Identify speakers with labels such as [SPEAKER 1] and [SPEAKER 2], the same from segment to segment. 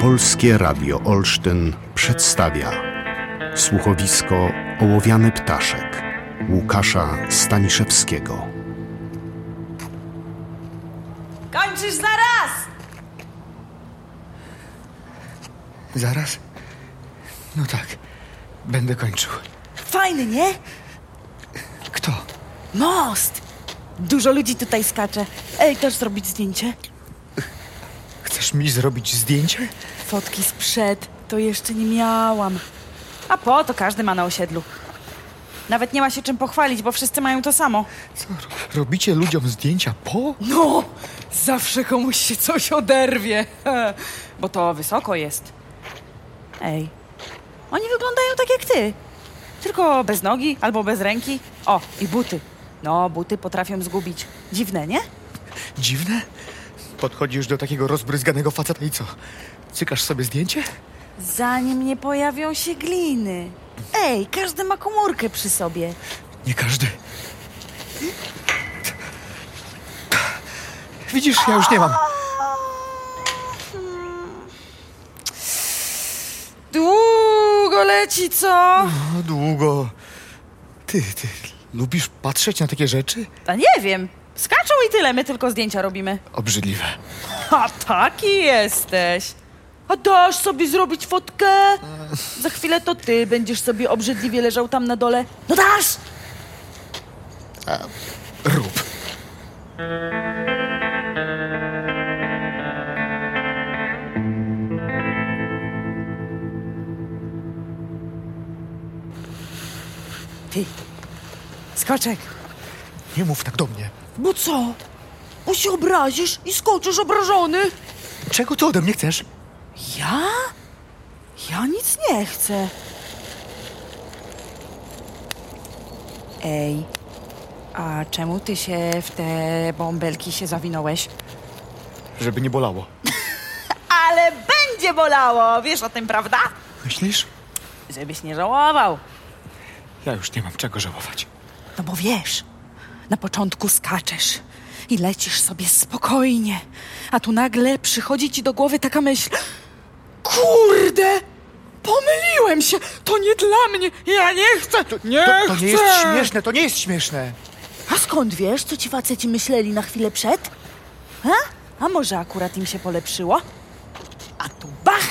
[SPEAKER 1] Polskie Radio Olsztyn przedstawia słuchowisko Ołowiany Ptaszek Łukasza Staniszewskiego.
[SPEAKER 2] Kończysz zaraz!
[SPEAKER 3] Zaraz? No tak, będę kończył.
[SPEAKER 2] Fajny, nie?
[SPEAKER 3] Kto?
[SPEAKER 2] Most! Dużo ludzi tutaj skacze. Ej, też zrobić zdjęcie?
[SPEAKER 3] Chcesz mi zrobić zdjęcie?
[SPEAKER 2] Fotki sprzed, to jeszcze nie miałam. A po, to każdy ma na osiedlu. Nawet nie ma się czym pochwalić, bo wszyscy mają to samo.
[SPEAKER 3] Co, ro- robicie ludziom zdjęcia po?
[SPEAKER 2] No! Zawsze komuś się coś oderwie. Bo to wysoko jest. Ej, oni wyglądają tak jak ty. Tylko bez nogi albo bez ręki. O, i buty. No, buty potrafią zgubić. Dziwne, nie?
[SPEAKER 3] Dziwne? Podchodzisz do takiego rozbryzganego faceta i co? Cykasz sobie zdjęcie?
[SPEAKER 2] Zanim nie pojawią się gliny. Ej, każdy ma komórkę przy sobie.
[SPEAKER 3] Nie każdy. Widzisz, ja już nie mam.
[SPEAKER 2] hmm. Długo leci, co?
[SPEAKER 3] O, No, długo. Ty, ty, lubisz patrzeć na takie rzeczy?
[SPEAKER 2] A nie wiem. Skaczą i tyle, my tylko zdjęcia robimy.
[SPEAKER 3] Obrzydliwe.
[SPEAKER 2] A taki jesteś. A dasz sobie zrobić fotkę? Za chwilę to ty będziesz sobie obrzydliwie leżał tam na dole. No dasz!
[SPEAKER 3] Rób.
[SPEAKER 2] Ty, skoczek.
[SPEAKER 3] Nie mów tak do mnie.
[SPEAKER 2] Bo co? Bo się obrazisz i skoczysz obrażony.
[SPEAKER 3] Czego ty ode mnie chcesz?
[SPEAKER 2] Ja? Ja nic nie chcę. Ej, a czemu ty się w te bąbelki się zawinąłeś?
[SPEAKER 3] Żeby nie bolało.
[SPEAKER 2] Ale będzie bolało, wiesz o tym, prawda?
[SPEAKER 3] Myślisz?
[SPEAKER 2] Żebyś nie żałował.
[SPEAKER 3] Ja już nie mam czego żałować.
[SPEAKER 2] No bo wiesz, na początku skaczesz i lecisz sobie spokojnie, a tu nagle przychodzi ci do głowy taka myśl: Kurde! Pomyliłem się! To nie dla mnie! Ja nie chcę! Nie
[SPEAKER 3] To, to
[SPEAKER 2] chcę!
[SPEAKER 3] nie jest śmieszne, to nie jest śmieszne.
[SPEAKER 2] A skąd wiesz, co ci faceci myśleli na chwilę przed? A? A może akurat im się polepszyło? A tu bach!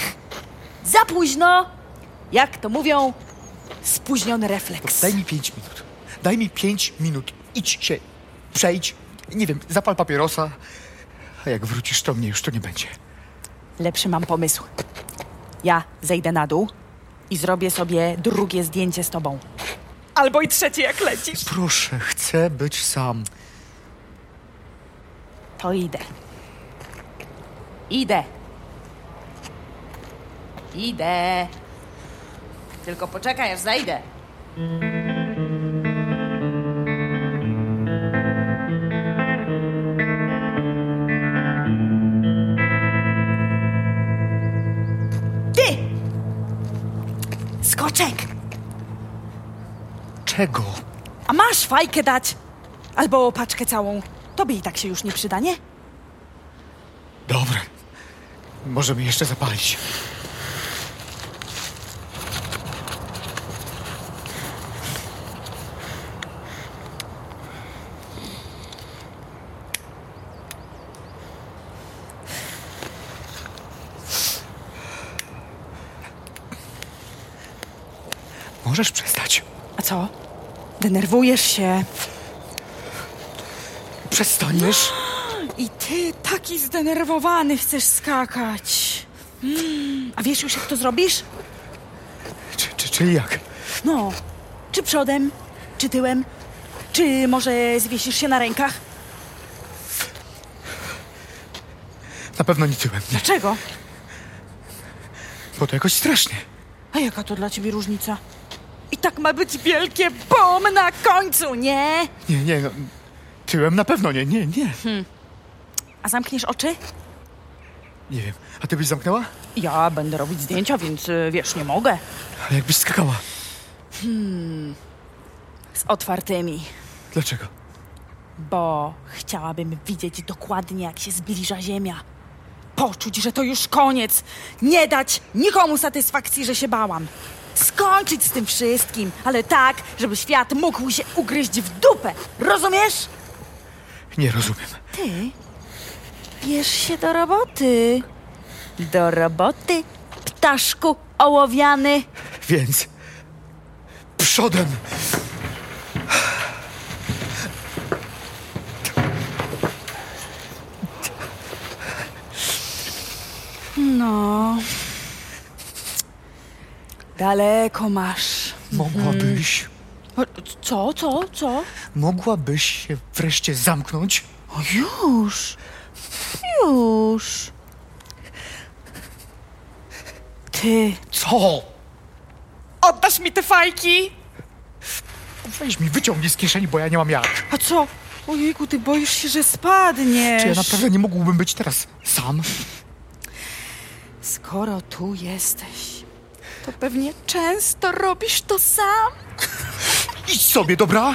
[SPEAKER 2] Za późno! Jak to mówią, spóźniony refleks.
[SPEAKER 3] Daj mi pięć minut. Daj mi pięć minut. Idź się, przejdź, nie wiem, zapal papierosa. A jak wrócisz, to mnie już tu nie będzie.
[SPEAKER 2] Lepszy mam pomysł. Ja zejdę na dół i zrobię sobie drugie zdjęcie z tobą. Albo i trzecie, jak lecisz.
[SPEAKER 3] Proszę, chcę być sam.
[SPEAKER 2] To idę. Idę. Idę. Tylko poczekaj, aż zejdę. Ty! Skoczek!
[SPEAKER 3] Czego?
[SPEAKER 2] A masz fajkę dać? Albo paczkę całą. Tobie i tak się już nie przyda, nie?
[SPEAKER 3] Dobra. Możemy jeszcze zapalić. Możesz przestać.
[SPEAKER 2] A co? Denerwujesz się.
[SPEAKER 3] Przestaniesz?
[SPEAKER 2] I ty taki zdenerwowany chcesz skakać. Mm, a wiesz już, jak to zrobisz?
[SPEAKER 3] Czy, czy, czyli jak?
[SPEAKER 2] No, czy przodem, czy tyłem, czy może zwiesisz się na rękach?
[SPEAKER 3] Na pewno nie tyłem, nie?
[SPEAKER 2] Dlaczego?
[SPEAKER 3] Bo to jakoś strasznie.
[SPEAKER 2] A jaka to dla ciebie różnica? I tak ma być wielkie BOM na końcu, nie?
[SPEAKER 3] Nie, nie, no. Tyłem na pewno nie, nie, nie.
[SPEAKER 2] A zamkniesz oczy?
[SPEAKER 3] Nie wiem. A ty byś zamknęła?
[SPEAKER 2] Ja będę robić zdjęcia, więc y, wiesz, nie mogę.
[SPEAKER 3] Ale jakbyś skakała.
[SPEAKER 2] Z otwartymi.
[SPEAKER 3] Dlaczego?
[SPEAKER 2] bo chciałabym widzieć dokładnie, jak się zbliża Ziemia. poczuć, że to już koniec. Nie dać nikomu satysfakcji, że się bałam. Skończyć z tym wszystkim, ale tak, żeby świat mógł się ugryźć w dupę. Rozumiesz?
[SPEAKER 3] Nie rozumiem.
[SPEAKER 2] Ty, bierz się do roboty. Do roboty, ptaszku ołowiany.
[SPEAKER 3] Więc przodem.
[SPEAKER 2] No. Daleko masz.
[SPEAKER 3] Mogłabyś,
[SPEAKER 2] Co, co, co?
[SPEAKER 3] mogłabyś się wreszcie zamknąć?
[SPEAKER 2] O, już. Już. Ty.
[SPEAKER 3] Co?
[SPEAKER 2] Oddasz mi te fajki?
[SPEAKER 3] Weź mi, wyciągnij z kieszeni, bo ja nie mam jak.
[SPEAKER 2] A co? Ojejku, ty boisz się, że spadniesz.
[SPEAKER 3] Czy ja naprawdę nie mógłbym być teraz sam?
[SPEAKER 2] Skoro tu jesteś, to pewnie często robisz to sam.
[SPEAKER 3] Idź sobie, dobra?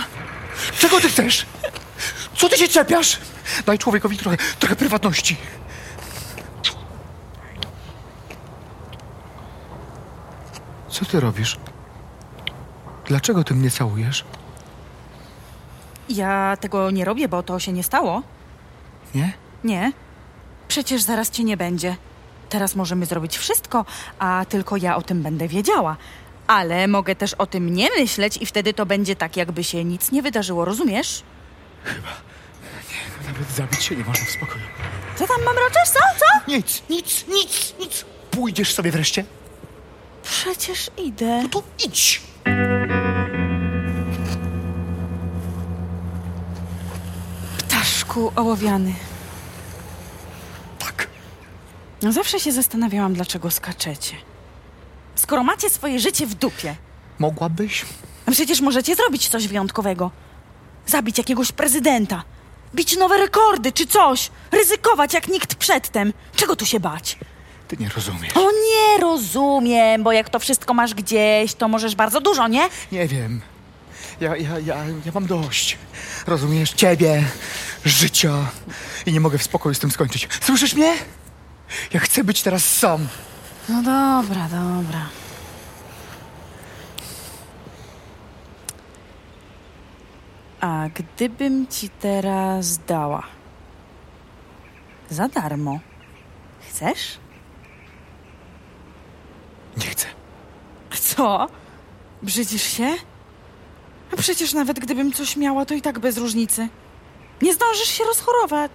[SPEAKER 3] Czego ty chcesz? Co ty się czepiasz? Daj człowiekowi trochę, trochę prywatności. Co ty robisz? Dlaczego ty mnie całujesz?
[SPEAKER 2] Ja tego nie robię, bo to się nie stało.
[SPEAKER 3] Nie?
[SPEAKER 2] Nie. Przecież zaraz cię nie będzie. Teraz możemy zrobić wszystko, a tylko ja o tym będę wiedziała. Ale mogę też o tym nie myśleć i wtedy to będzie tak, jakby się nic nie wydarzyło, rozumiesz?
[SPEAKER 3] Nawet zabić się nie można w spokoju.
[SPEAKER 2] Co tam mam roczesz? Co? Co?
[SPEAKER 3] Nic, nic, nic, nic. Pójdziesz sobie wreszcie?
[SPEAKER 2] Przecież idę.
[SPEAKER 3] No to idź.
[SPEAKER 2] Ptaszku ołowiany.
[SPEAKER 3] Tak.
[SPEAKER 2] No zawsze się zastanawiałam, dlaczego skaczecie. Skoro macie swoje życie w dupie,
[SPEAKER 3] Mogłabyś?
[SPEAKER 2] no przecież możecie zrobić coś wyjątkowego. Zabić jakiegoś prezydenta, bić nowe rekordy czy coś, ryzykować jak nikt przedtem. Czego tu się bać?
[SPEAKER 3] Ty nie rozumiesz.
[SPEAKER 2] O nie rozumiem, bo jak to wszystko masz gdzieś, to możesz bardzo dużo, nie?
[SPEAKER 3] Nie wiem. Ja, ja, ja, ja mam dość. Rozumiesz? Ciebie, życia. I nie mogę w spokoju z tym skończyć. Słyszysz mnie? Ja chcę być teraz sam.
[SPEAKER 2] No dobra, dobra. A gdybym ci teraz dała? Za darmo. Chcesz?
[SPEAKER 3] Nie chcę.
[SPEAKER 2] Co? Brzydzisz się? A przecież nawet gdybym coś miała, to i tak bez różnicy. Nie zdążysz się rozchorować.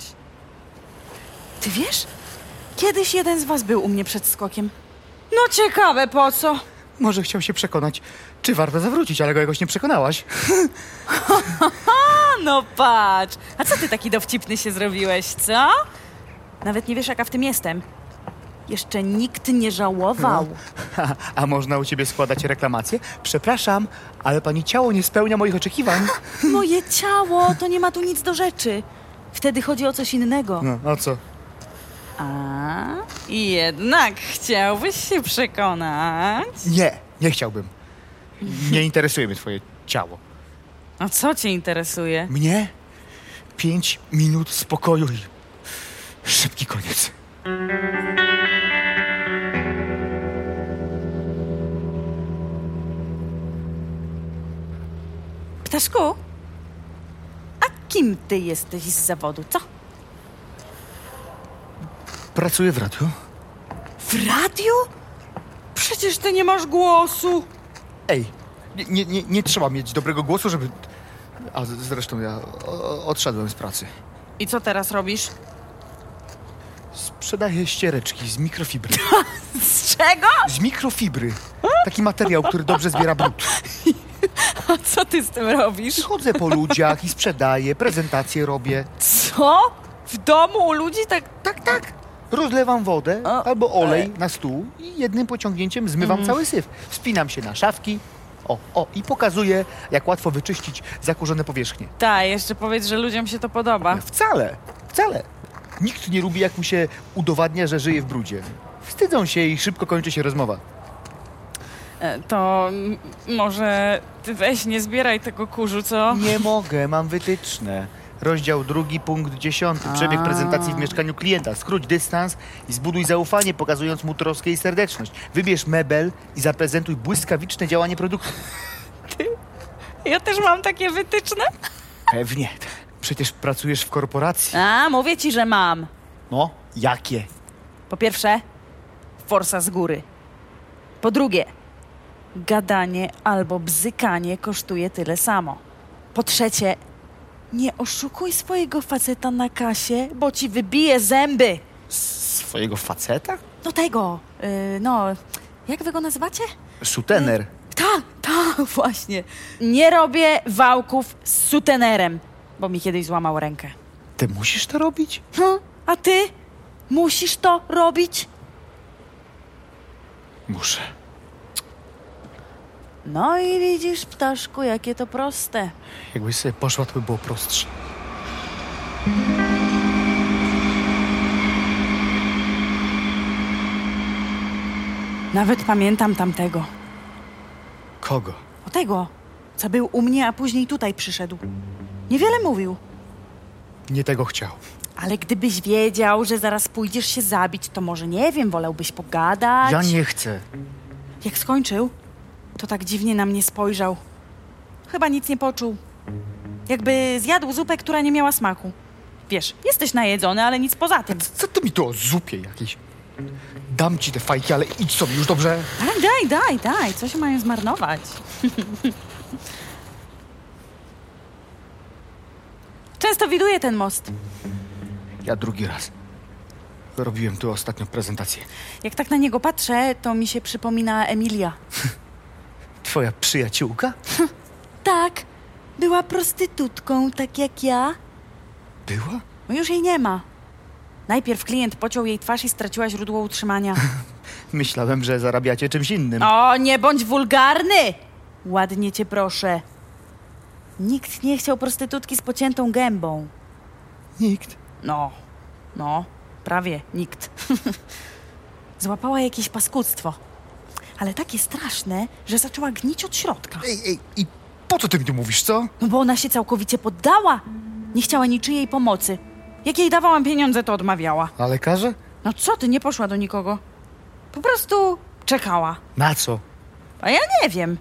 [SPEAKER 2] Ty wiesz? Kiedyś jeden z was był u mnie przed skokiem. No ciekawe po co?
[SPEAKER 3] Może chciał się przekonać, czy warto zawrócić, ale go jakoś nie przekonałaś.
[SPEAKER 2] No patrz, a co ty taki dowcipny się zrobiłeś, co? Nawet nie wiesz, jaka w tym jestem. Jeszcze nikt nie żałował.
[SPEAKER 3] A, a można u ciebie składać reklamację? Przepraszam, ale pani ciało nie spełnia moich oczekiwań.
[SPEAKER 2] Moje ciało, to nie ma tu nic do rzeczy. Wtedy chodzi o coś innego.
[SPEAKER 3] No, a co?
[SPEAKER 2] A, i jednak chciałbyś się przekonać.
[SPEAKER 3] Nie, nie chciałbym. Nie interesuje mnie twoje ciało.
[SPEAKER 2] A co cię interesuje?
[SPEAKER 3] Mnie? Pięć minut spokoju i szybki koniec.
[SPEAKER 2] Ptaszku, a kim ty jesteś z zawodu, co?
[SPEAKER 3] Pracuję w radiu.
[SPEAKER 2] W radiu? Przecież ty nie masz głosu.
[SPEAKER 3] Ej, nie, nie, nie, nie trzeba mieć dobrego głosu, żeby... A z- zresztą ja o, odszedłem z pracy.
[SPEAKER 2] I co teraz robisz?
[SPEAKER 3] Sprzedaję ściereczki z mikrofibry.
[SPEAKER 2] Z czego?
[SPEAKER 3] Z mikrofibry. Taki materiał, który dobrze zbiera brud.
[SPEAKER 2] A co ty z tym robisz?
[SPEAKER 3] Chodzę po ludziach i sprzedaję, prezentacje robię.
[SPEAKER 2] Co? W domu u ludzi tak...
[SPEAKER 3] Tak, tak. Rozlewam wodę
[SPEAKER 2] O,
[SPEAKER 3] albo olej na stół i jednym pociągnięciem zmywam cały syf. Wspinam się na szafki. O, o, i pokazuję, jak łatwo wyczyścić zakurzone powierzchnie.
[SPEAKER 2] Ta, jeszcze powiedz, że ludziom się to podoba.
[SPEAKER 3] Wcale, wcale. Nikt nie lubi, jak mu się udowadnia, że żyje w brudzie. Wstydzą się i szybko kończy się rozmowa.
[SPEAKER 2] E, To m, może ty weź, nie zbieraj tego kurzu, co?
[SPEAKER 3] Nie mogę, mam wytyczne. Rozdział drugi, punkt dziesiąty. Przebieg prezentacji w mieszkaniu klienta. Skróć dystans i zbuduj zaufanie, pokazując mu troskę i serdeczność. Wybierz mebel i zaprezentuj błyskawiczne działanie produktu.
[SPEAKER 2] Ja też mam takie wytyczne.
[SPEAKER 3] Pewnie. Przecież pracujesz w korporacji.
[SPEAKER 2] A, mówię ci, że mam.
[SPEAKER 3] No, jakie?
[SPEAKER 2] Po pierwsze, forsa z góry. Po drugie, gadanie albo bzykanie kosztuje tyle samo. Po trzecie, nie oszukuj swojego faceta na kasie, bo ci wybije zęby.
[SPEAKER 3] Swojego faceta?
[SPEAKER 2] No tego, yy, no, jak wy go nazywacie?
[SPEAKER 3] Sutener.
[SPEAKER 2] Tak, tak, właśnie. Nie robię wałków z sutenerem, bo mi kiedyś złamał rękę.
[SPEAKER 3] Ty musisz to robić?
[SPEAKER 2] Hm, a ty? Musisz to robić?
[SPEAKER 3] Muszę.
[SPEAKER 2] No i widzisz, ptaszku, jakie to proste.
[SPEAKER 3] Jakbyś sobie poszła, to by było prostsze.
[SPEAKER 2] Nawet pamiętam tamtego.
[SPEAKER 3] Kogo?
[SPEAKER 2] O tego, co był u mnie, a później tutaj przyszedł. Niewiele mówił.
[SPEAKER 3] Nie tego chciał.
[SPEAKER 2] Ale gdybyś wiedział, że zaraz pójdziesz się zabić, to może nie wiem, wolałbyś pogadać.
[SPEAKER 3] Ja nie chcę.
[SPEAKER 2] Jak skończył, to tak dziwnie na mnie spojrzał. Chyba nic nie poczuł. Jakby zjadł zupę, która nie miała smaku. Wiesz, jesteś najedzony, ale nic poza tym.
[SPEAKER 3] Co ty mi tu o zupie jakiejś? Dam ci te fajki, ale idź sobie już, dobrze?
[SPEAKER 2] Daj, daj, daj, daj, co się mają zmarnować? Często widuję ten most.
[SPEAKER 3] Ja drugi raz. Robiłem tu ostatnią prezentację.
[SPEAKER 2] Jak tak na niego patrzę, to mi się przypomina Emilia.
[SPEAKER 3] Twoja przyjaciółka?
[SPEAKER 2] Tak, była prostytutką, tak jak ja.
[SPEAKER 3] Była?
[SPEAKER 2] No już jej nie ma. Najpierw klient pociął jej twarz i straciła źródło utrzymania.
[SPEAKER 3] Myślałem, że zarabiacie czymś innym.
[SPEAKER 2] O, nie bądź wulgarny! Ładnie cię proszę. Nikt nie chciał prostytutki z pociętą gębą.
[SPEAKER 3] Nikt.
[SPEAKER 2] No, no, prawie nikt. Złapała jakieś paskudztwo. Ale takie straszne, że zaczęła gnić od środka.
[SPEAKER 3] Ej, ej, i po co ty mi tu mówisz, co?
[SPEAKER 2] No bo ona się całkowicie poddała. Nie chciała niczyjej pomocy. Jak jej dawałam pieniądze, to odmawiała.
[SPEAKER 3] A lekarze?
[SPEAKER 2] No co ty, nie poszła do nikogo. Po prostu czekała.
[SPEAKER 3] Na co?
[SPEAKER 2] A ja nie wiem.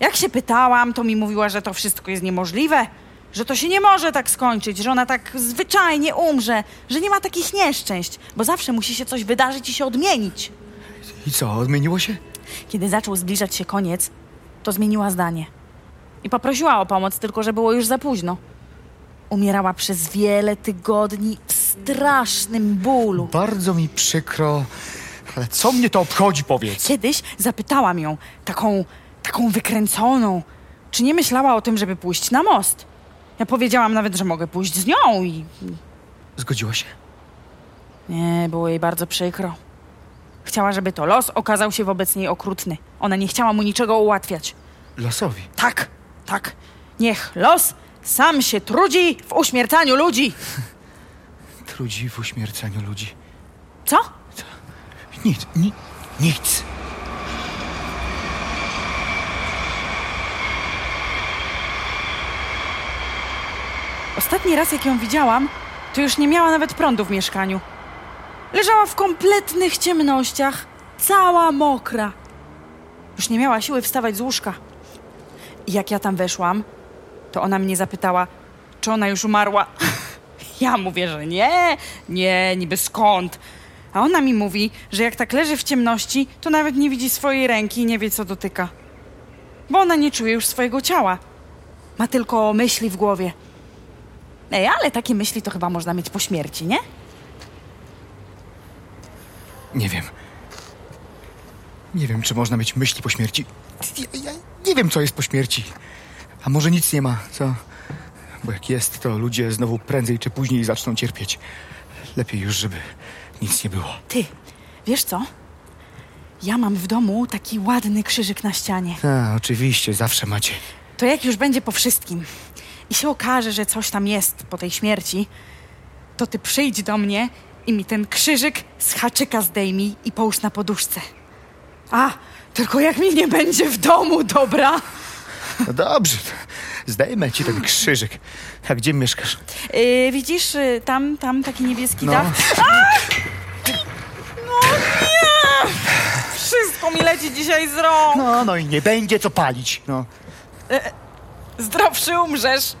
[SPEAKER 2] Jak się pytałam, to mi mówiła, że to wszystko jest niemożliwe, że to się nie może tak skończyć, że ona tak zwyczajnie umrze, że nie ma takich nieszczęść, bo zawsze musi się coś wydarzyć i się odmienić.
[SPEAKER 3] I co, odmieniło się?
[SPEAKER 2] Kiedy zaczął zbliżać się koniec, to zmieniła zdanie. I poprosiła o pomoc, tylko że było już za późno. Umierała przez wiele tygodni w strasznym bólu.
[SPEAKER 3] Bardzo mi przykro, ale co mnie to obchodzi, powiedz?
[SPEAKER 2] Kiedyś zapytałam ją, taką, taką wykręconą, czy nie myślała o tym, żeby pójść na most. Ja powiedziałam nawet, że mogę pójść z nią i...
[SPEAKER 3] Zgodziła się?
[SPEAKER 2] Nie, było jej bardzo przykro. Chciała, żeby to los okazał się wobec niej okrutny. Ona nie chciała mu niczego ułatwiać.
[SPEAKER 3] Losowi.
[SPEAKER 2] Tak, tak. Niech los sam się trudzi w uśmiercaniu ludzi.
[SPEAKER 3] Trudzi w uśmiercaniu ludzi.
[SPEAKER 2] Co?
[SPEAKER 3] Nic, ni, nic.
[SPEAKER 2] Ostatni raz, jak ją widziałam, to już nie miała nawet prądu w mieszkaniu. Leżała w kompletnych ciemnościach, cała mokra. Już nie miała siły wstawać z łóżka. I jak ja tam weszłam, to ona mnie zapytała, czy ona już umarła. Ja mówię, że nie, nie, niby skąd. A ona mi mówi, że jak tak leży w ciemności, to nawet nie widzi swojej ręki i nie wie, co dotyka. Bo ona nie czuje już swojego ciała. Ma tylko myśli w głowie. Ej, ale takie myśli to chyba można mieć po śmierci, nie?
[SPEAKER 3] Nie wiem. Nie wiem, czy można mieć myśli po śmierci. Ja, ja nie wiem, co jest po śmierci. A może nic nie ma, co? Bo jak jest, to ludzie znowu prędzej czy później zaczną cierpieć. Lepiej już, żeby nic nie było.
[SPEAKER 2] Ty, wiesz co? Ja mam w domu taki ładny krzyżyk na ścianie.
[SPEAKER 3] A, oczywiście, zawsze macie.
[SPEAKER 2] To jak już będzie po wszystkim i się okaże, że coś tam jest po tej śmierci, to ty przyjdź do mnie i mi ten krzyżyk z haczyka zdejmij i połóż na poduszce. A, tylko jak mi nie będzie w domu, dobra?
[SPEAKER 3] No dobrze, Zdejmę ci ten krzyżyk. A gdzie mieszkasz?
[SPEAKER 2] Y, widzisz, y, tam, tam taki niebieski
[SPEAKER 3] No.
[SPEAKER 2] dach. A! No nie! Wszystko mi leci dzisiaj z rąk.
[SPEAKER 3] No, no i nie będzie co palić. No.
[SPEAKER 2] Zdrowszy umrzesz.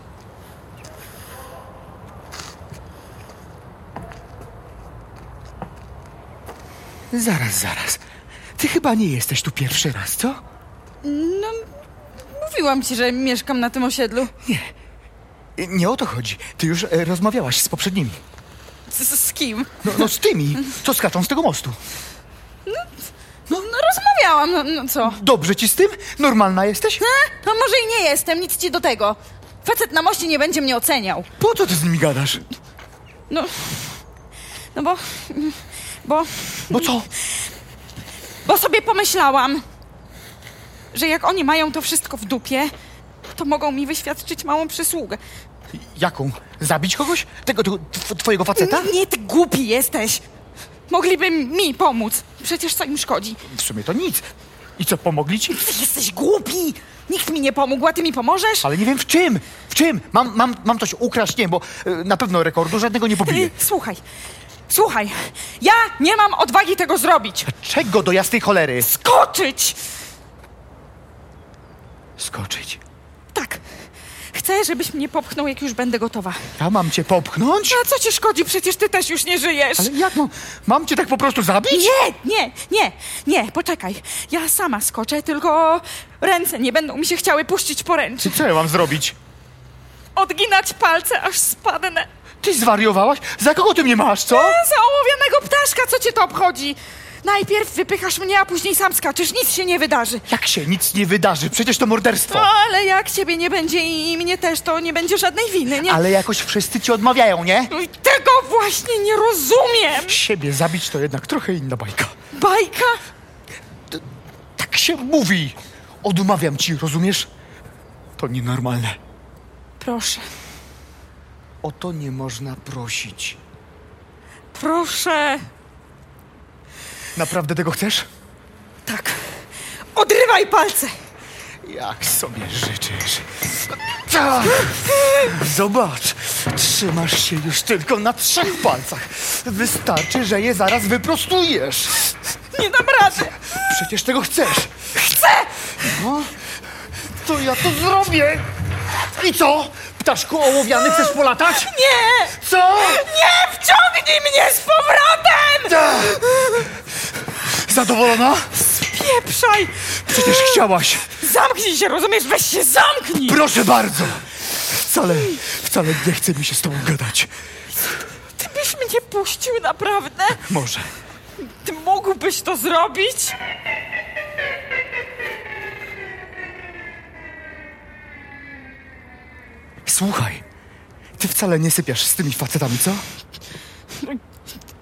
[SPEAKER 3] Zaraz, zaraz. Ty chyba nie jesteś tu pierwszy raz, co?
[SPEAKER 2] No, mówiłam ci, że mieszkam na tym osiedlu.
[SPEAKER 3] Nie o to chodzi. Ty już e, rozmawiałaś z poprzednimi.
[SPEAKER 2] Z, z kim?
[SPEAKER 3] No, no z tymi, co skaczą z tego mostu.
[SPEAKER 2] No, rozmawiałam, no, no co?
[SPEAKER 3] Dobrze ci z tym? Normalna jesteś?
[SPEAKER 2] E? No może i nie jestem, nic ci do tego. Facet na moście nie będzie mnie oceniał.
[SPEAKER 3] Po co ty z nimi gadasz?
[SPEAKER 2] No, no bo, bo,
[SPEAKER 3] Bo No co?
[SPEAKER 2] bo sobie pomyślałam, że jak oni mają to wszystko w dupie, to mogą mi wyświadczyć małą przysługę.
[SPEAKER 3] Jaką? Zabić kogoś? Tego, tego tw- twojego faceta?
[SPEAKER 2] Nie, ty głupi jesteś. Mogliby mi pomóc. Przecież co im szkodzi?
[SPEAKER 3] W sumie to nic. I co, pomogli ci?
[SPEAKER 2] Ty jesteś głupi! Nikt mi nie pomógł, a ty mi pomożesz?
[SPEAKER 3] Ale nie wiem w czym. W czym? Mam, mam, mam coś ukraść? Nie, bo e, na pewno rekordu żadnego nie pobiję.
[SPEAKER 2] Ty, Y, słuchaj, słuchaj, ja nie mam odwagi tego zrobić.
[SPEAKER 3] Czego do jasnej cholery?
[SPEAKER 2] Skoczyć!
[SPEAKER 3] Skoczyć.
[SPEAKER 2] Tak, chcę, żebyś mnie popchnął, jak już będę gotowa.
[SPEAKER 3] Ja mam cię popchnąć?
[SPEAKER 2] A co ci szkodzi? Przecież ty też już nie żyjesz.
[SPEAKER 3] Ale jak mam? Mam cię tak po prostu zabić?
[SPEAKER 2] Nie, nie, nie, nie, poczekaj. Ja sama skoczę, tylko ręce nie będą mi się chciały puścić poręczy.
[SPEAKER 3] Ty co ja mam zrobić?
[SPEAKER 2] Odginać palce, aż spadnę. E,
[SPEAKER 3] Ty zwariowałaś? Za kogo ty mnie masz, co?
[SPEAKER 2] Za ołowianego ptaszka, co cię to obchodzi? Najpierw wypychasz mnie, a później sam skaczesz. Nic się nie wydarzy.
[SPEAKER 3] Jak się nic nie wydarzy? Przecież to morderstwo.
[SPEAKER 2] Ale jak ciebie nie będzie i i mnie też, to nie będzie żadnej winy, nie?
[SPEAKER 3] Ale jakoś wszyscy ci odmawiają, nie?
[SPEAKER 2] No i Tego właśnie nie rozumiem!
[SPEAKER 3] Siebie zabić to jednak trochę inna bajka.
[SPEAKER 2] Bajka?
[SPEAKER 3] Tak się mówi. Odmawiam ci, rozumiesz? To nienormalne.
[SPEAKER 2] Proszę,
[SPEAKER 3] O to nie można prosić.
[SPEAKER 2] proszę.
[SPEAKER 3] Naprawdę tego chcesz?
[SPEAKER 2] Tak. Odrywaj palce!
[SPEAKER 3] Jak sobie życzysz. Tak! Zobacz, trzymasz się już tylko na trzech palcach. Wystarczy, że je zaraz wyprostujesz.
[SPEAKER 2] Nie dam rady!
[SPEAKER 3] Przecież tego chcesz.
[SPEAKER 2] Chcę!
[SPEAKER 3] No, to ja to zrobię. I co? Ptaszku ołowiany chcesz polatać?
[SPEAKER 2] Nie!
[SPEAKER 3] Co?
[SPEAKER 2] Nie wciągnij mnie z powrotem!
[SPEAKER 3] Tak. Zadowolona?
[SPEAKER 2] Pieprzaj!
[SPEAKER 3] Przecież chciałaś.
[SPEAKER 2] Zamknij się, rozumiesz? Weź się zamknij!
[SPEAKER 3] Proszę bardzo. Wcale, wcale nie chce mi się z tobą gadać.
[SPEAKER 2] Ty byś mnie puścił naprawdę?
[SPEAKER 3] Może.
[SPEAKER 2] Ty mógłbyś to zrobić?
[SPEAKER 3] Słuchaj, ty wcale nie sypiasz z tymi facetami, co?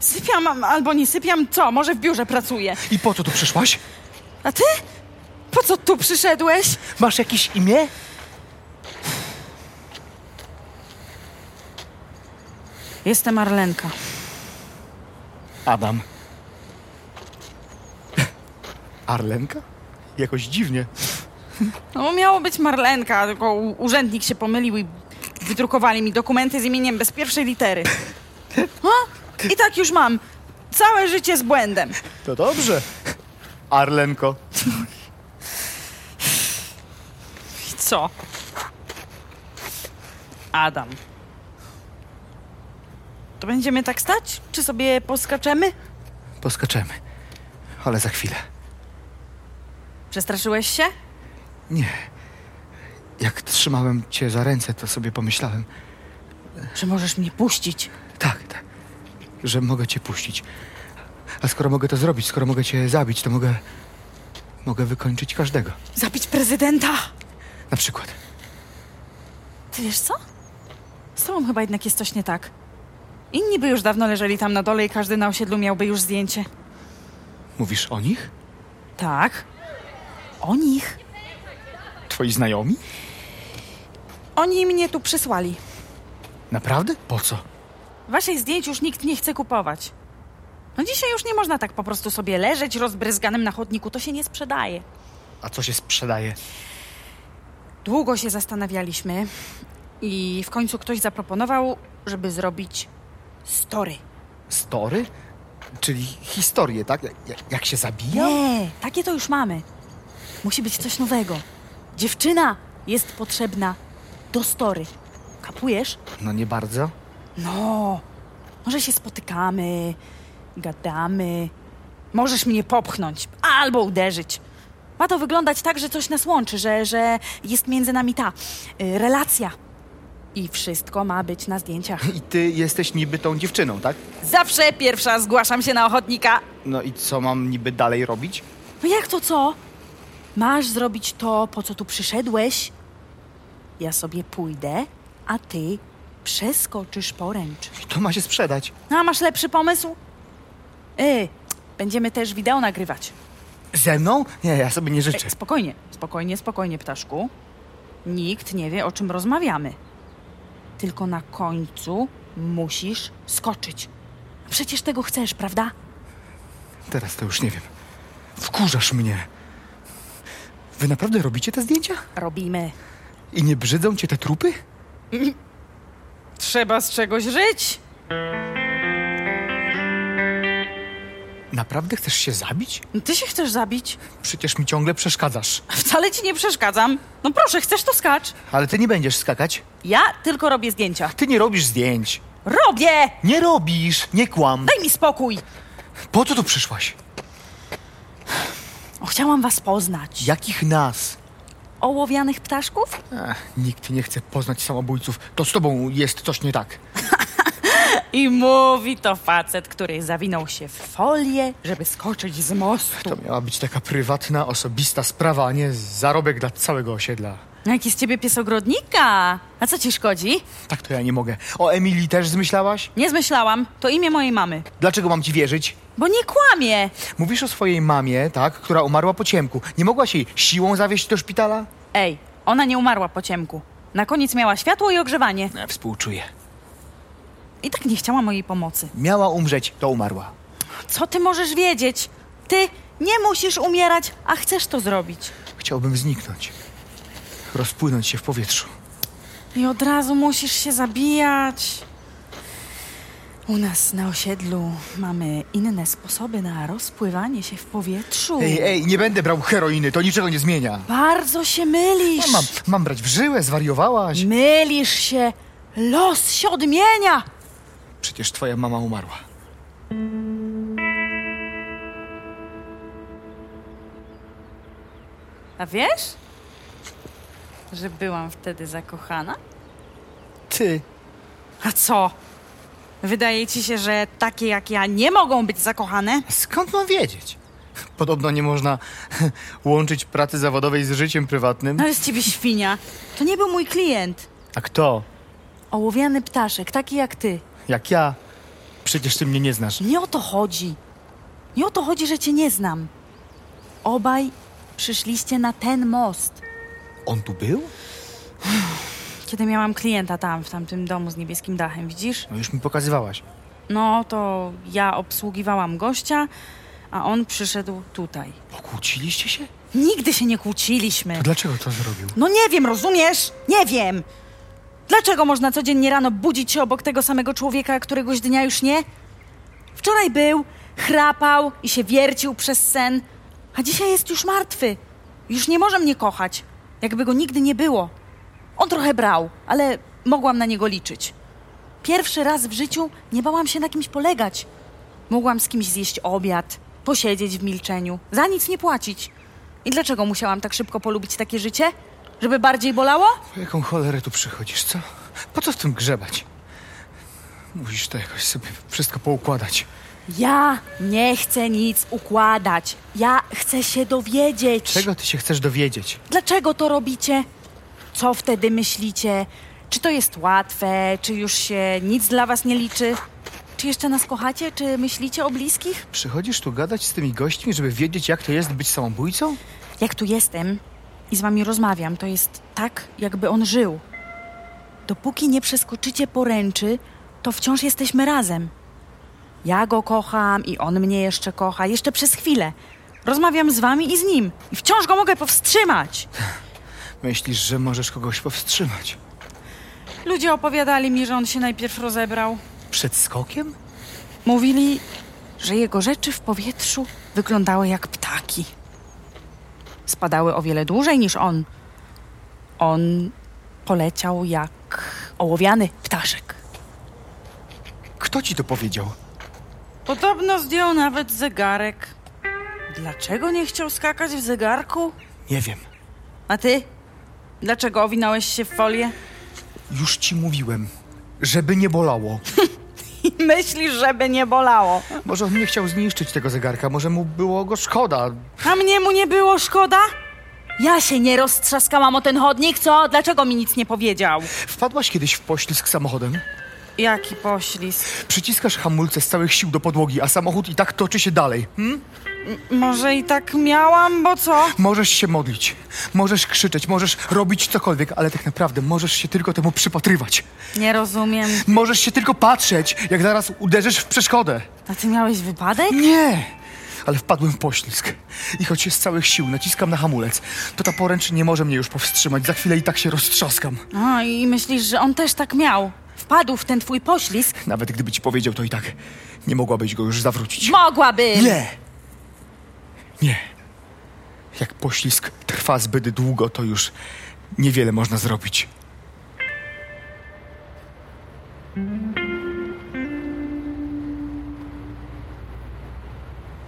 [SPEAKER 2] Sypiam a- albo nie sypiam, co? Może w biurze pracuję.
[SPEAKER 3] I po co tu przyszłaś?
[SPEAKER 2] A ty? Po co tu przyszedłeś?
[SPEAKER 3] Masz jakieś imię?
[SPEAKER 2] Jestem Arlenka.
[SPEAKER 3] Adam. Arlenka? Jakoś dziwnie.
[SPEAKER 2] No miało być Marlenka, tylko u- urzędnik się pomylił i wydrukowali mi dokumenty z imieniem bez pierwszej litery. O, I tak już mam. Całe życie z błędem.
[SPEAKER 3] To dobrze. Arlenko.
[SPEAKER 2] I co? Adam. To będziemy tak stać? Czy sobie poskaczemy?
[SPEAKER 3] Poskoczymy. Ale za chwilę.
[SPEAKER 2] Przestraszyłeś się?
[SPEAKER 3] Nie. Jak trzymałem cię za ręce, to sobie pomyślałem.
[SPEAKER 2] Że możesz mnie puścić?
[SPEAKER 3] Tak, tak. Że mogę cię puścić. A skoro mogę to zrobić, skoro mogę cię zabić, to mogę. Mogę wykończyć każdego.
[SPEAKER 2] Zabić prezydenta?
[SPEAKER 3] Na przykład.
[SPEAKER 2] Ty wiesz co? Z tobą chyba jednak jest coś nie tak. Inni by już dawno leżeli tam na dole i każdy na osiedlu miałby już zdjęcie.
[SPEAKER 3] Mówisz o nich?
[SPEAKER 2] Tak. O nich.
[SPEAKER 3] Twoi znajomi?
[SPEAKER 2] Oni mnie tu przysłali.
[SPEAKER 3] Naprawdę? Po co?
[SPEAKER 2] Waszych zdjęć już nikt nie chce kupować. No dzisiaj już nie można tak po prostu sobie leżeć rozbryzganym na chodniku, to się nie sprzedaje.
[SPEAKER 3] A co się sprzedaje?
[SPEAKER 2] Długo się zastanawialiśmy i w końcu ktoś zaproponował, żeby zrobić story.
[SPEAKER 3] Story? Czyli historię, tak? Jak, jak się zabija?
[SPEAKER 2] Nie, takie to już mamy. Musi być coś nowego. Dziewczyna jest potrzebna do story. Kapujesz?
[SPEAKER 3] No nie bardzo.
[SPEAKER 2] No, może się spotykamy, gadamy. Możesz mnie popchnąć albo uderzyć. Ma to wyglądać tak, że coś nas łączy, że, że jest między nami ta y, relacja. I wszystko ma być na zdjęciach.
[SPEAKER 3] I ty jesteś niby tą dziewczyną, tak?
[SPEAKER 2] Zawsze pierwsza zgłaszam się na ochotnika.
[SPEAKER 3] No i co mam niby dalej robić?
[SPEAKER 2] No jak to co? Masz zrobić to, po co tu przyszedłeś. Ja sobie pójdę, a ty przeskoczysz poręcz.
[SPEAKER 3] I to ma się sprzedać.
[SPEAKER 2] No, A masz lepszy pomysł? Yy, będziemy też wideo nagrywać.
[SPEAKER 3] Ze mną? Nie, ja sobie nie
[SPEAKER 2] Ej,
[SPEAKER 3] życzę.
[SPEAKER 2] spokojnie, spokojnie, spokojnie, ptaszku. Nikt nie wie, o czym rozmawiamy. Tylko na końcu musisz skoczyć. Przecież tego chcesz, prawda?
[SPEAKER 3] Teraz to już nie wiem. Wkurzasz mnie. Wy naprawdę robicie te zdjęcia?
[SPEAKER 2] Robimy.
[SPEAKER 3] I nie brzydzą cię te trupy?
[SPEAKER 2] Trzeba z czegoś żyć.
[SPEAKER 3] Naprawdę chcesz się zabić?
[SPEAKER 2] No, Ty się chcesz zabić?
[SPEAKER 3] Przecież mi ciągle przeszkadzasz.
[SPEAKER 2] Wcale ci nie przeszkadzam. No proszę, chcesz to skacz.
[SPEAKER 3] Ale ty nie będziesz skakać.
[SPEAKER 2] Ja tylko robię zdjęcia.
[SPEAKER 3] Ty nie robisz zdjęć.
[SPEAKER 2] Robię!
[SPEAKER 3] Nie robisz, nie kłam.
[SPEAKER 2] Daj mi spokój!
[SPEAKER 3] Po co tu przyszłaś?
[SPEAKER 2] O, chciałam was poznać.
[SPEAKER 3] Jakich nas?
[SPEAKER 2] Ołowianych ptaszków?
[SPEAKER 3] Ach, nikt nie chce poznać samobójców. To z tobą jest coś nie tak.
[SPEAKER 2] I mówi to facet, który zawinął się w folię, żeby skoczyć z mostu.
[SPEAKER 3] To miała być taka prywatna, osobista sprawa, a nie zarobek dla całego osiedla.
[SPEAKER 2] No Jaki z ciebie pies ogrodnika? A co ci szkodzi?
[SPEAKER 3] Tak to ja nie mogę. O Emilii też zmyślałaś?
[SPEAKER 2] Nie zmyślałam. To imię mojej mamy.
[SPEAKER 3] Dlaczego mam ci wierzyć?
[SPEAKER 2] Bo nie kłamie.
[SPEAKER 3] Mówisz o swojej mamie, tak, która umarła po ciemku. Nie mogłaś jej siłą zawieźć do szpitala?
[SPEAKER 2] Ej, ona nie umarła po ciemku. Na koniec miała światło i ogrzewanie.
[SPEAKER 3] Ja współczuję.
[SPEAKER 2] I tak nie chciała mojej pomocy.
[SPEAKER 3] Miała umrzeć, to umarła.
[SPEAKER 2] Co ty możesz wiedzieć? Ty nie musisz umierać, a chcesz to zrobić.
[SPEAKER 3] Chciałbym zniknąć. Rozpłynąć się w powietrzu.
[SPEAKER 2] I od razu musisz się zabijać. U nas na osiedlu mamy inne sposoby na rozpływanie się w powietrzu.
[SPEAKER 3] Ej, ej, nie będę brał heroiny, to niczego nie zmienia.
[SPEAKER 2] Bardzo się mylisz.
[SPEAKER 3] A No, Mam, mam brać w żyłę, zwariowałaś?
[SPEAKER 2] Mylisz się. Los się odmienia.
[SPEAKER 3] Przecież twoja mama umarła.
[SPEAKER 2] A wiesz, że byłam wtedy zakochana?
[SPEAKER 3] Ty.
[SPEAKER 2] A co? Wydaje ci się, że takie jak ja nie mogą być zakochane?
[SPEAKER 3] Skąd mam wiedzieć? Podobno nie można łączyć pracy zawodowej z życiem prywatnym.
[SPEAKER 2] No jest ciebie świnia. To nie był mój klient.
[SPEAKER 3] A kto?
[SPEAKER 2] Ołowiany ptaszek, taki jak ty.
[SPEAKER 3] Jak ja? Przecież ty mnie nie znasz.
[SPEAKER 2] Nie o to chodzi. Nie o to chodzi, że cię nie znam. Obaj przyszliście na ten most.
[SPEAKER 3] On tu był?
[SPEAKER 2] Kiedy miałam klienta tam, w tamtym domu z niebieskim dachem, widzisz?
[SPEAKER 3] No już mi pokazywałaś.
[SPEAKER 2] No to ja obsługiwałam gościa, a on przyszedł tutaj.
[SPEAKER 3] Pokłóciliście się?
[SPEAKER 2] Nigdy się nie kłóciliśmy.
[SPEAKER 3] To dlaczego to zrobił?
[SPEAKER 2] No nie wiem, rozumiesz? Nie wiem! Dlaczego można codziennie rano budzić się obok tego samego człowieka, któregoś dnia już nie? Wczoraj był, chrapał i się wiercił przez sen, a dzisiaj jest już martwy. Już nie może mnie kochać, jakby go nigdy nie było. On trochę brał, ale mogłam na niego liczyć. Pierwszy raz w życiu nie bałam się na kimś polegać. Mogłam z kimś zjeść obiad, posiedzieć w milczeniu, za nic nie płacić. I dlaczego musiałam tak szybko polubić takie życie? Żeby bardziej bolało?
[SPEAKER 3] Po jaką cholerę tu przychodzisz, co? Po co w tym grzebać? Musisz to jakoś sobie wszystko poukładać.
[SPEAKER 2] Ja nie chcę nic układać. Ja chcę się dowiedzieć.
[SPEAKER 3] Czego ty się chcesz dowiedzieć?
[SPEAKER 2] Dlaczego to robicie? Co wtedy myślicie? Czy to jest łatwe? Czy już się nic dla was nie liczy? Czy jeszcze nas kochacie? Czy myślicie o bliskich?
[SPEAKER 3] Przychodzisz tu gadać z tymi gośćmi, żeby wiedzieć, jak to jest być samobójcą?
[SPEAKER 2] Jak tu jestem i z wami rozmawiam, to jest tak, jakby on żył. Dopóki nie przeskoczycie poręczy, to wciąż jesteśmy razem. Ja go kocham i on mnie jeszcze kocha, jeszcze przez chwilę. Rozmawiam z wami i z nim i wciąż go mogę powstrzymać.
[SPEAKER 3] Myślisz, że możesz kogoś powstrzymać?
[SPEAKER 2] Ludzie opowiadali mi, że on się najpierw rozebrał.
[SPEAKER 3] Przed skokiem?
[SPEAKER 2] Mówili, że jego rzeczy w powietrzu wyglądały jak ptaki. Spadały o wiele dłużej niż on. On poleciał jak ołowiany ptaszek.
[SPEAKER 3] Kto ci to powiedział?
[SPEAKER 2] Podobno zdjął nawet zegarek. Dlaczego nie chciał skakać w zegarku?
[SPEAKER 3] Nie wiem.
[SPEAKER 2] A ty? Dlaczego owinąłeś się w folię?
[SPEAKER 3] Już ci mówiłem, żeby nie bolało.
[SPEAKER 2] I myślisz, żeby nie bolało.
[SPEAKER 3] Może on nie chciał zniszczyć tego zegarka, może mu było go szkoda.
[SPEAKER 2] A mnie mu nie było szkoda? Ja się nie roztrzaskałam o ten chodnik, co? Dlaczego mi nic nie powiedział?
[SPEAKER 3] Wpadłaś kiedyś w poślizg samochodem?
[SPEAKER 2] Jaki poślizg.
[SPEAKER 3] Przyciskasz hamulce z całych sił do podłogi, a samochód i tak toczy się dalej. Hmm?
[SPEAKER 2] Może i tak miałam, bo co?
[SPEAKER 3] Możesz się modlić, możesz krzyczeć, możesz robić cokolwiek, ale tak naprawdę możesz się tylko temu przypatrywać.
[SPEAKER 2] Nie rozumiem.
[SPEAKER 3] Możesz się tylko patrzeć, jak zaraz uderzysz w przeszkodę.
[SPEAKER 2] A ty miałeś wypadek?
[SPEAKER 3] Nie! Ale wpadłem w poślizg. I choć się z całych sił naciskam na hamulec, to ta poręcz nie może mnie już powstrzymać. Za chwilę i tak się roztrzaskam.
[SPEAKER 2] A, No i myślisz, że on też tak miał? Wpadł w ten twój poślizg?
[SPEAKER 3] Nawet gdyby ci powiedział, to i tak nie mogłabyś go już zawrócić.
[SPEAKER 2] Mogłabym!
[SPEAKER 3] Nie! Nie. Jak poślizg trwa zbyt długo, to już niewiele można zrobić.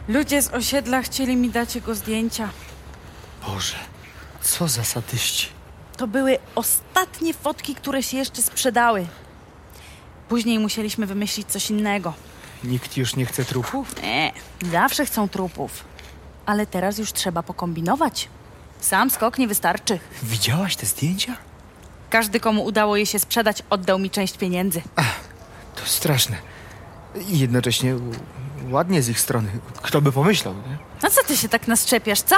[SPEAKER 2] Ludzie z osiedla chcieli mi dać jego zdjęcia.
[SPEAKER 3] Boże, co za sadyści.
[SPEAKER 2] To były ostatnie fotki, które się jeszcze sprzedały. Później musieliśmy wymyślić coś innego.
[SPEAKER 3] Nikt już nie chce trupów?
[SPEAKER 2] Nie, e, zawsze chcą trupów. Ale teraz już trzeba pokombinować. Sam skok nie wystarczy.
[SPEAKER 3] Widziałaś te zdjęcia?
[SPEAKER 2] Każdy, komu udało je się sprzedać, oddał mi część pieniędzy.
[SPEAKER 3] To straszne. I jednocześnie u- ładnie z ich strony. Kto by pomyślał, nie?
[SPEAKER 2] A co ty się tak naszczepiasz, co?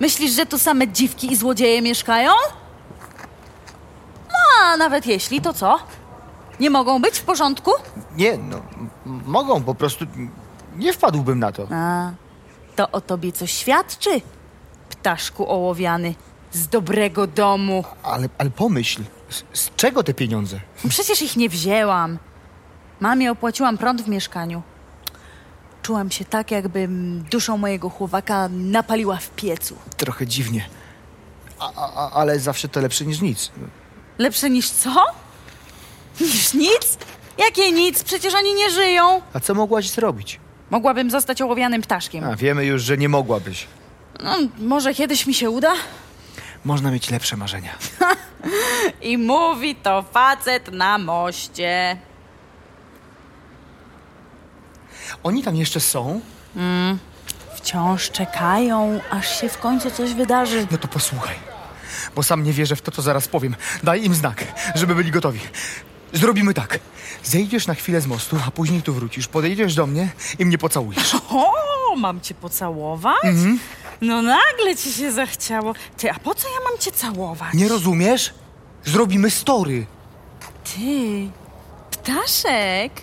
[SPEAKER 2] Myślisz, że tu same dziwki i złodzieje mieszkają? No, a nawet jeśli, to co? Nie mogą być w porządku?
[SPEAKER 3] Nie, no, m- mogą po prostu. Nie wpadłbym na to.
[SPEAKER 2] A, to o tobie coś świadczy, ptaszku ołowiany z dobrego domu.
[SPEAKER 3] Ale, ale pomyśl, z, z czego te pieniądze?
[SPEAKER 2] Przecież ich nie wzięłam. Mamie opłaciłam prąd w mieszkaniu. Czułam się tak, jakbym duszą mojego chłopaka napaliła w piecu.
[SPEAKER 3] Trochę dziwnie. A, a, a- ale zawsze to lepsze niż nic.
[SPEAKER 2] Lepsze niż co? Niż nic? Jakie nic? Przecież oni nie żyją.
[SPEAKER 3] A co mogłaś zrobić?
[SPEAKER 2] Mogłabym zostać ołowianym ptaszkiem.
[SPEAKER 3] A wiemy już, że nie mogłabyś.
[SPEAKER 2] No, może kiedyś mi się uda?
[SPEAKER 3] Można mieć lepsze marzenia.
[SPEAKER 2] I mówi to facet na moście.
[SPEAKER 3] Oni tam jeszcze są?
[SPEAKER 2] Wciąż czekają, aż się w końcu coś wydarzy.
[SPEAKER 3] No to posłuchaj. Bo sam nie wierzę w to, co zaraz powiem. Daj im znak, żeby byli gotowi. Zrobimy tak. Zejdziesz na chwilę z mostu, a później tu wrócisz. Podejdziesz do mnie i mnie pocałujesz.
[SPEAKER 2] O, mam cię pocałować? No nagle ci się zachciało. Ty, a po co ja mam cię całować?
[SPEAKER 3] Nie rozumiesz? Zrobimy story.
[SPEAKER 2] Ty, ptaszek.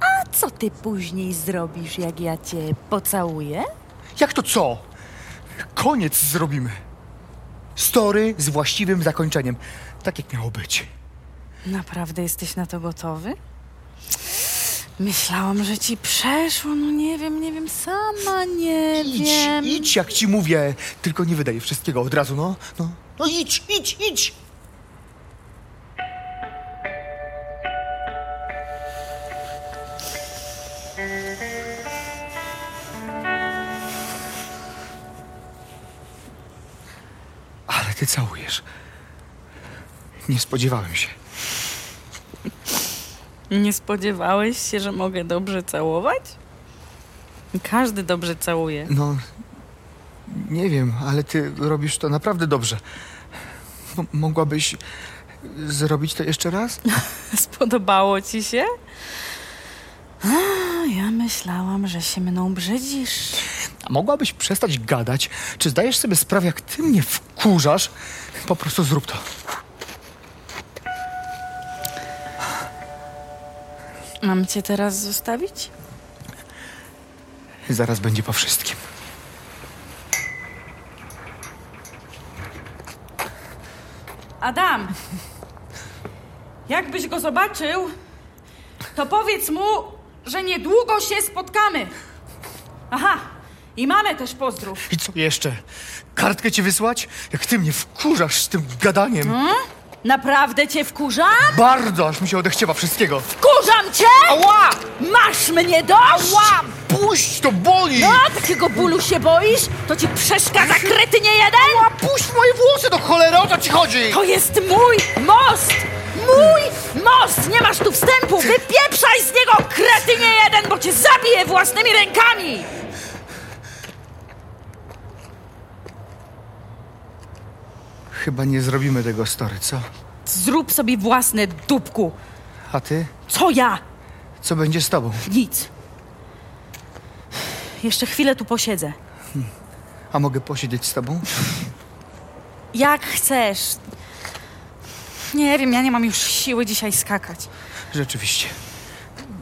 [SPEAKER 2] A co ty później zrobisz, jak ja cię pocałuję?
[SPEAKER 3] Jak to co? Koniec zrobimy. Story z właściwym zakończeniem. Tak jak miało być.
[SPEAKER 2] Naprawdę jesteś na to gotowy? Myślałam, że ci przeszło. No nie wiem, nie wiem, sama nie
[SPEAKER 3] Idź,
[SPEAKER 2] wiem.
[SPEAKER 3] idź, jak ci mówię. Tylko nie wydaj wszystkiego od razu, no. No, no idź, idź, idź. Ale ty całujesz. Nie spodziewałem się.
[SPEAKER 2] Nie spodziewałeś się, że mogę dobrze całować? Każdy dobrze całuje.
[SPEAKER 3] No, nie wiem, ale ty robisz to naprawdę dobrze. M- mogłabyś zrobić to jeszcze raz?
[SPEAKER 2] Spodobało ci się? A, ja myślałam, że się mną brzydzisz.
[SPEAKER 3] A mogłabyś przestać gadać? Czy zdajesz sobie sprawę, jak ty mnie wkurzasz? Po prostu zrób to.
[SPEAKER 2] Mam cię teraz zostawić?
[SPEAKER 3] Zaraz będzie po wszystkim.
[SPEAKER 2] Adam, jakbyś go zobaczył, to powiedz mu, że niedługo się spotkamy. Aha, i mamy też pozdrów.
[SPEAKER 3] I co jeszcze? Kartkę ci wysłać? Jak ty mnie wkurzasz z tym gadaniem.
[SPEAKER 2] Hmm? Naprawdę cię wkurzam?
[SPEAKER 3] Bardzo, aż mi się odechciewa wszystkiego.
[SPEAKER 2] Wkurzam cię!
[SPEAKER 3] Ała!
[SPEAKER 2] Masz mnie dość!
[SPEAKER 3] Ała! Puść, to boli!
[SPEAKER 2] No, takiego bólu się boisz? To ci przeszkadza kretynie jeden?
[SPEAKER 3] Puść moje włosy do cholery, o co ci chodzi?
[SPEAKER 2] To jest mój most! Mój most! Nie masz tu wstępu! Wypieprzaj z niego, kretynie jeden, bo cię zabiję własnymi rękami!
[SPEAKER 3] Chyba nie zrobimy tego, stary, co?
[SPEAKER 2] Zrób sobie własne dupku.
[SPEAKER 3] A ty?
[SPEAKER 2] Co ja?
[SPEAKER 3] Co będzie z tobą?
[SPEAKER 2] Nic. Jeszcze chwilę tu posiedzę.
[SPEAKER 3] A mogę posiedzieć z tobą?
[SPEAKER 2] Jak chcesz. Nie wiem, ja nie mam już siły dzisiaj skakać.
[SPEAKER 3] Rzeczywiście.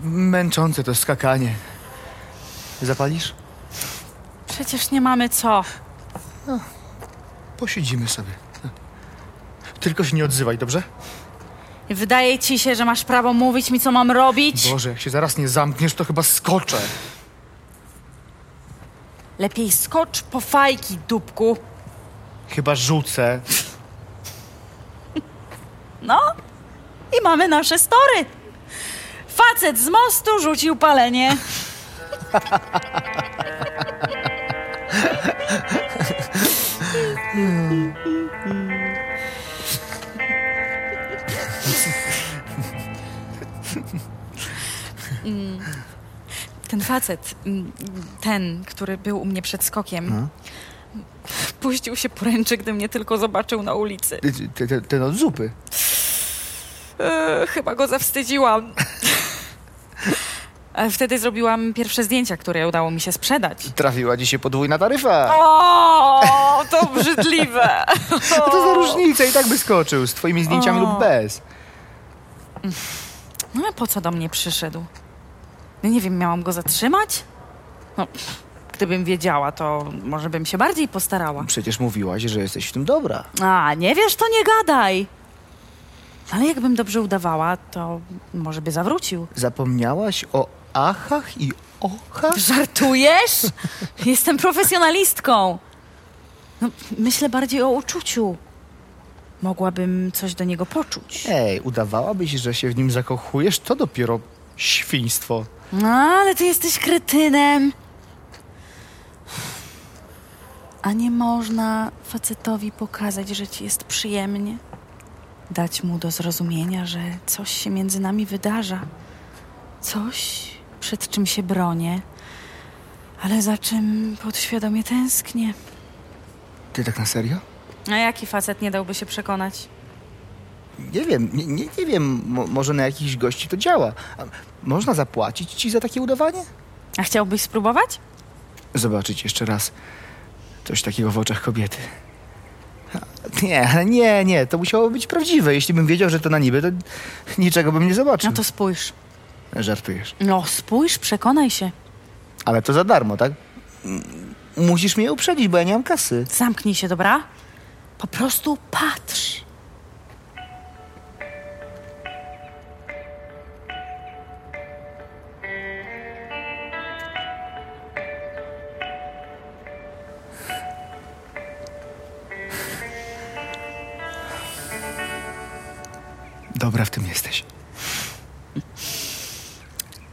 [SPEAKER 3] Męczące to skakanie. Zapalisz?
[SPEAKER 2] Przecież nie mamy co.
[SPEAKER 3] Posiedzimy sobie. Tylko się nie odzywaj, dobrze?
[SPEAKER 2] Wydaje ci się, że masz prawo mówić mi, co mam robić?
[SPEAKER 3] Boże, jak się zaraz nie zamkniesz, to chyba skoczę.
[SPEAKER 2] Lepiej skocz po fajki, dupku.
[SPEAKER 3] Chyba rzucę.
[SPEAKER 2] No i mamy nasze story. Facet z mostu rzucił palenie. Mm. Ten facet, mm, ten, który był u mnie przed skokiem, puścił się poręczy, gdy mnie tylko zobaczył na ulicy.
[SPEAKER 3] Ten, ten, ten od zupy.
[SPEAKER 2] E, chyba go zawstydziłam. Ale Wtedy zrobiłam pierwsze zdjęcia, które udało mi się sprzedać.
[SPEAKER 3] Trafiła dzisiaj podwójna taryfa.
[SPEAKER 2] O, to obrzydliwe.
[SPEAKER 3] A to za różnica, i tak by skoczył. Z twoimi zdjęciami
[SPEAKER 2] O.
[SPEAKER 3] lub bez.
[SPEAKER 2] No ale po co do mnie przyszedł? Ja nie wiem, miałam go zatrzymać? No, pff, gdybym wiedziała, to może bym się bardziej postarała.
[SPEAKER 3] Przecież mówiłaś, że jesteś w tym dobra.
[SPEAKER 2] A, nie wiesz, to nie gadaj. Ale jakbym dobrze udawała, to może by zawrócił.
[SPEAKER 3] Zapomniałaś o achach i ochach?
[SPEAKER 2] Żartujesz? Jestem profesjonalistką. No, myślę bardziej o uczuciu. Mogłabym coś do niego poczuć.
[SPEAKER 3] Ej, udawałabyś, że się w nim zakochujesz? To dopiero świństwo.
[SPEAKER 2] No, ale ty jesteś kretynem. A nie można facetowi pokazać, że ci jest przyjemnie. Dać mu do zrozumienia, że coś się między nami wydarza. Coś, przed czym się bronię, ale za czym podświadomie tęsknię.
[SPEAKER 3] Ty tak na serio?
[SPEAKER 2] A jaki facet nie dałby się przekonać?
[SPEAKER 3] Nie wiem, nie, nie, nie wiem, mo, może na jakichś gości to działa. A Można zapłacić ci za takie udawanie?
[SPEAKER 2] A chciałbyś spróbować?
[SPEAKER 3] Zobaczyć jeszcze raz coś takiego w oczach kobiety. A, Nie, ale nie, nie, to musiało być prawdziwe. Jeśli bym wiedział, że to na niby, to niczego bym nie zobaczył.
[SPEAKER 2] No to spójrz.
[SPEAKER 3] Żartujesz.
[SPEAKER 2] No spójrz, przekonaj się.
[SPEAKER 3] Ale to za darmo, tak? M- Musisz mnie uprzedzić, bo ja nie mam kasy.
[SPEAKER 2] Zamknij się, dobra? Po prostu patrz.
[SPEAKER 3] Dobra, w tym jesteś.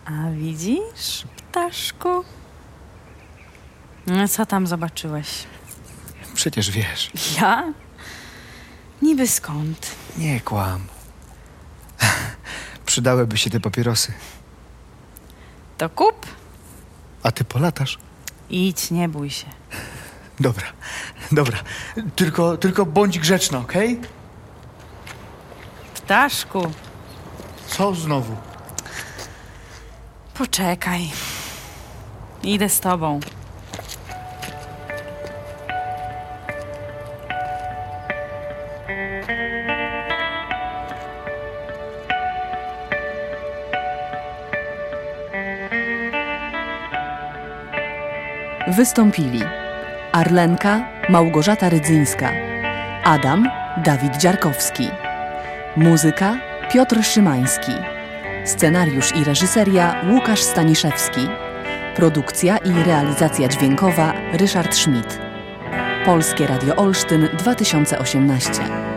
[SPEAKER 2] A widzisz, ptaszku? No, co tam zobaczyłeś?
[SPEAKER 3] Przecież wiesz.
[SPEAKER 2] Ja? Niby skąd?
[SPEAKER 3] Nie kłam. Przydałyby się te papierosy.
[SPEAKER 2] To kup?
[SPEAKER 3] A ty polatasz?
[SPEAKER 2] Idź, nie bój się.
[SPEAKER 3] Dobra, dobra. Tylko, tylko bądź grzeczna, okej?
[SPEAKER 2] Ptaszku,
[SPEAKER 3] Co znowu?
[SPEAKER 2] poczekaj. Idę z tobą.
[SPEAKER 4] Wystąpili Arlenka Małgorzata Rydzyńska, Adam Dawid Dziarkowski. Muzyka Piotr Szymański. Scenariusz i reżyseria Łukasz Staniszewski. Produkcja i realizacja dźwiękowa Ryszard Schmidt. Polskie Radio Olsztyn 2018.